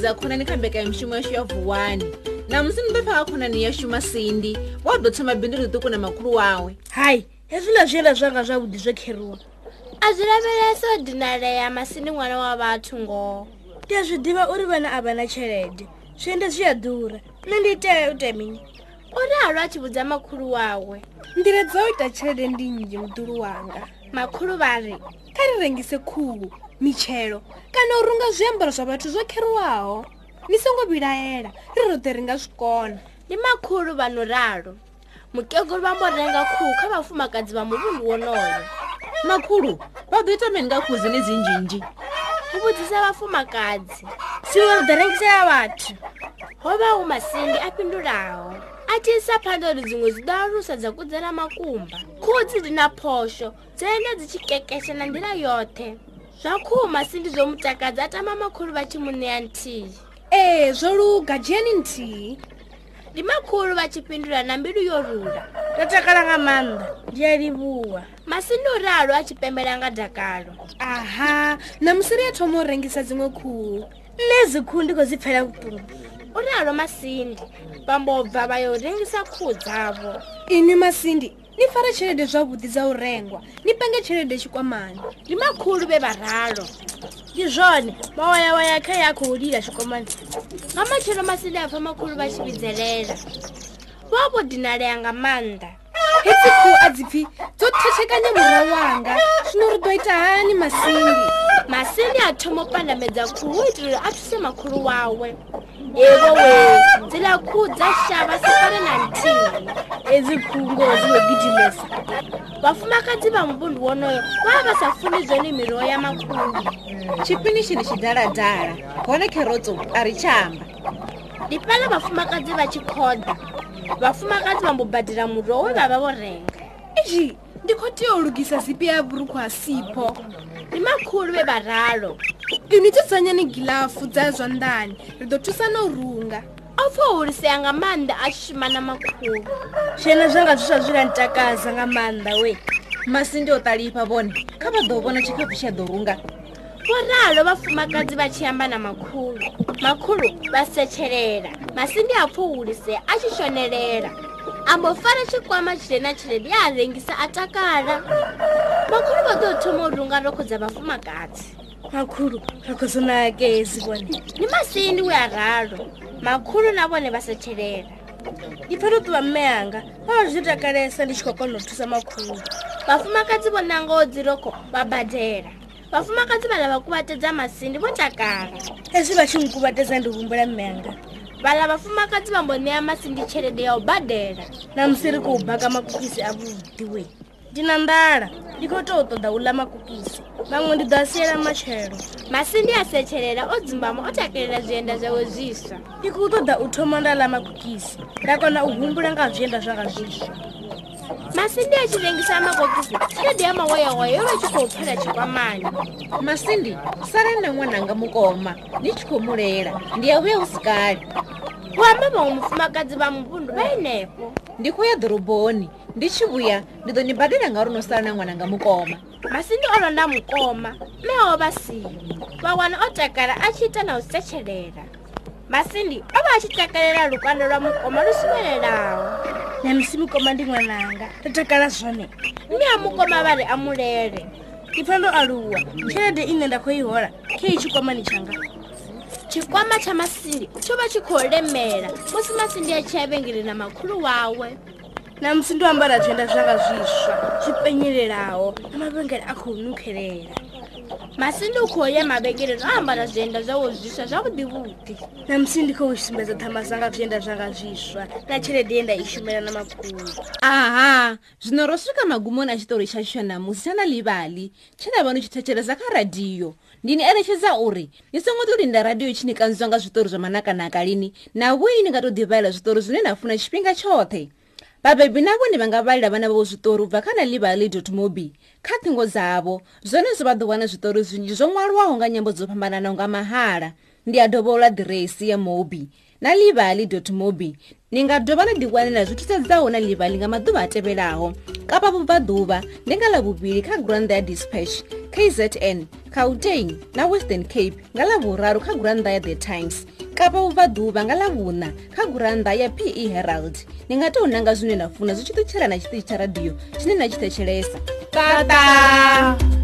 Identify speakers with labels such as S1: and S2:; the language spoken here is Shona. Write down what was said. S1: vhakhonani kha mbekanyamushumo yashu ya vuwani namusi ni ḓo pfha vhakhonani ya shuma sindi wa ḓo thoma bindu ḽiṱuku na makhulu wawe
S2: hai hezwiḽa zwiela zwanga zwavhuḓi zwo kheriwa
S3: a zwi lavhelesa o dinalea masini ṅwana wa vhathu ngoho
S2: ndi a zwi ḓivha uri vhana a vha na tshelede zwiende zwi a ḓura nṋe ndi itea u ita mini
S3: uri halwa a tshi vhudza makhulu wawe
S4: nḓila dza u ita tshelede ndi nnzhi muḓulu wanga
S3: makhulu vha ri
S4: kha ri rengise khuhu mitshelo kana u runga zwiambaro zwa vhathu zwo kheruwaho ni songo vhilaela ri roṱhe ri nga zwi kona
S3: ndi makhulu vha no ralo mukegulu vha mbo renga khuhu kha vhafumakadzi vha muvhundu wonoyo
S1: makhulu vha ḓo ita mini nga khuhu dzine dzi nzhinzhi
S3: hu vhudzisa vhafumakadzi
S2: siwe ri ḓo rengisela vhathu
S3: ho vha hu masindi a fhindulaho a tshi isa phanḓa uri dziṅwe dzi ḓo alusa dza kudzela makumba khuhu dzi dina phosho dzo enda dzi tshi kekesha na nḓila yoṱhe zwa khuhu masindi zwo mu takadza a tama makhulu vha tshi mu ṋea nthihi
S4: ee zwo luga dzhiani nthihi
S3: ndi makhulu vha tshi fhindula na mbilu yo rula
S2: ndo takala nga maanḓa ndi a livhuwa
S3: masindi u ralo a tshi pembela nga dakalo
S4: aha ṋamusi ri ya thoma u rengisa dziṅwe khuhu
S2: nṋe hezi khuhu ndi khou dzi pfhela vhuṱungu
S3: u ralo masindi vha mbo bva vha yo rengisa khuhu dzavho
S4: inwi masindi ni fare tshelede zwavhuḓi dza u rengwa ni penge tshelede tshikwamani
S3: ndi makhulu vhe vha ralo
S2: ndi zwone vha wayawaya kha ya khou lila tshikwamani
S3: nga matshelo masindi a pfha makhulu vha tshi vhidzelela vha vho dinalea nga maanḓa
S4: hedzi khuhu a dzi pfhi dzo thethekanya mura wanga zwino ri ḓo ita hani masindi
S3: masindi a thoma u pandamedza khuhu u itela uri a thuse makhulu wawe evo wee dziḽa khuhu dza shavha sifare na nthihi
S2: hezi khuhu ngoho dzi khou gidimesa
S3: vhafumakadzi vha muvhundu wonoyo vha vha sa funi zwone miroho ya makhulu
S1: tshipini tshi ni tshidaladala hone kherotso a ri tshamba
S3: ndi fhaḽa vhafumakadzi vha tshi khoḓa vhafumakadzi vha mbo badela muroho we vha vha vho renga
S4: izhi ndi khou tea u lugisa zipi ya vhurukhu ha sipho
S3: ndi makhulu vhe vharalo
S4: ini dzudzanyani gilafu dza zwanḓani ri ḓo thusana u runga
S3: o pfha u hulisea nga maanḓa a tshi shuma na makhulu
S2: zwena zwanga zwi swa zwila ntakadza nga maanḓa we
S1: masindi o ṱalifha vhone kha vha ḓo vhona tshikhafu tsha ḓo runga
S3: vho ralo vhafumakadzi vha tshi amba na makhulu makhulu vha setshelela masindi a pfha u hulisea a tshi shonelela ambo fara tshikwama tshile na tshelede ya a rengisa a takala makhulu vha ḓo thoma u runga rokho dza vhafumakadzi
S2: makhulu ra khou zonake hezi vhone
S3: ndi masindi we a ralo makhulu na vhone vha setshelela
S2: ndi pfha to ṱuvha mme yanga vha vha zwi takalesa ndi tshi khou kona u thusa makhulu
S3: vhafumakadzi vho nangoho dzirokho vha badela vhafumakadzi vhala vha kuvhatedza masindi vho takala
S2: hezwi vha tshi nkuvhatedza ndi humbula mme yanga
S3: vhala vhafumakadzi vha mbo ṋea masindi tshelede ya u badela
S2: na musi ri khou baka makukisi avhuḓi we ndi na nḓala ndi khou tou ṱoḓa u ḽa makukisi vhaṅwe ndi ḓo a siela matshelo
S3: masindi a setshelela o dzumbama o takalela zwienda zwawe zwiswa
S2: ndi khou ṱoḓa u thoma nda ḽa makukisi nda kona u humbula nga zwienda zwanga zwiswa
S3: masindi a tshi rengisa mabokisi tshelede ya mawayawayo yo vha tshi khou pfhela tshikwamani
S1: masindi salani na ṅwananga mukoma ni tshi khou mulela ndi ya vhuya hu si kale
S3: hu amba vhaṅwe mufumakadzi vha muvhundu vha henefho
S1: ndi khou ya ḓoroboni ndi tshi vhuya ndi ḓo ni badela ngauri no sala na ṅwananga mukoma
S3: masindi o londa mukoma mme o vha siho vha wana o takala a tshi ita na u setshelela masindi o vha a tshi takalela lukanda lwa mukoma lu suvhelelaho
S2: na musi mukoma ndi ṅwananga ndo takala zwone
S3: mme a mukoma vha ri a mulele
S2: ndi pfha ndo aluwa tshelede ine nda khou i hola khei tshikwamani tshanga
S3: tshikwama tsha masindi tsho vha tshi khou lemela musi masindi a tshi ya vhengele na makhulu wawe
S2: na musi ndo ambara zwienda zwanga zwiswa zwi penyelelaho na mavhengele a khou nukhelela
S3: masindi u khou ya mavhengeleni o ambara zwienda zwawo zwiswa zwavhuḓi vhuḓi
S2: na musi ndi khou sumbedza ṱhama dzanga zwienda zwanga zwiswa na tshelede ye nda i shumela na makulu
S1: aha zwino ro swika magumoni a tshitori tshashu tsha namusi tsha na ḽivhali tshe na vha ni tshi thetshelesa kha radiyo ndi ni eletshedza uri ni songo tou linda radiyo tshi ni kanziwa nga zwiṱori zwa manakanaka lini na vhoi ni nga tou ḓivhalela zwiṱori zwine na funa tshifhinga tshoṱhe vhabebi na vhone vha nga vhalela vhana vhavho zwiṱori u bva kha na ḽivhali mobi kha ṱhingo dzavho zwone zwo vha ḓo wana zwiṱori zwinzhi zwo ṅwalwaho nga nyambo dzo fhambananaho nga mahala ndi a dovholola ḓiresi ya mobi na livali mobi ni nga dovha na ḓiwanela zwithu sedzaho na livali nga maḓuvha a tevhelaho kapa vhubvaḓuvha ndi nga ḽavhuvhili kha gurannḓa ya dispatch kzn gauteng na western cape nga ḽavhuraru kha gurannḓa ya the times kapa vubvaḓuvha nga ḽavhuṋa kha gurannḓa ya pe E herald ni nga tou nanga zwine na funa zwi tshi ṱutshela na tshiṱitshi tsha radio tshine na tshi thetshelesa
S4: tata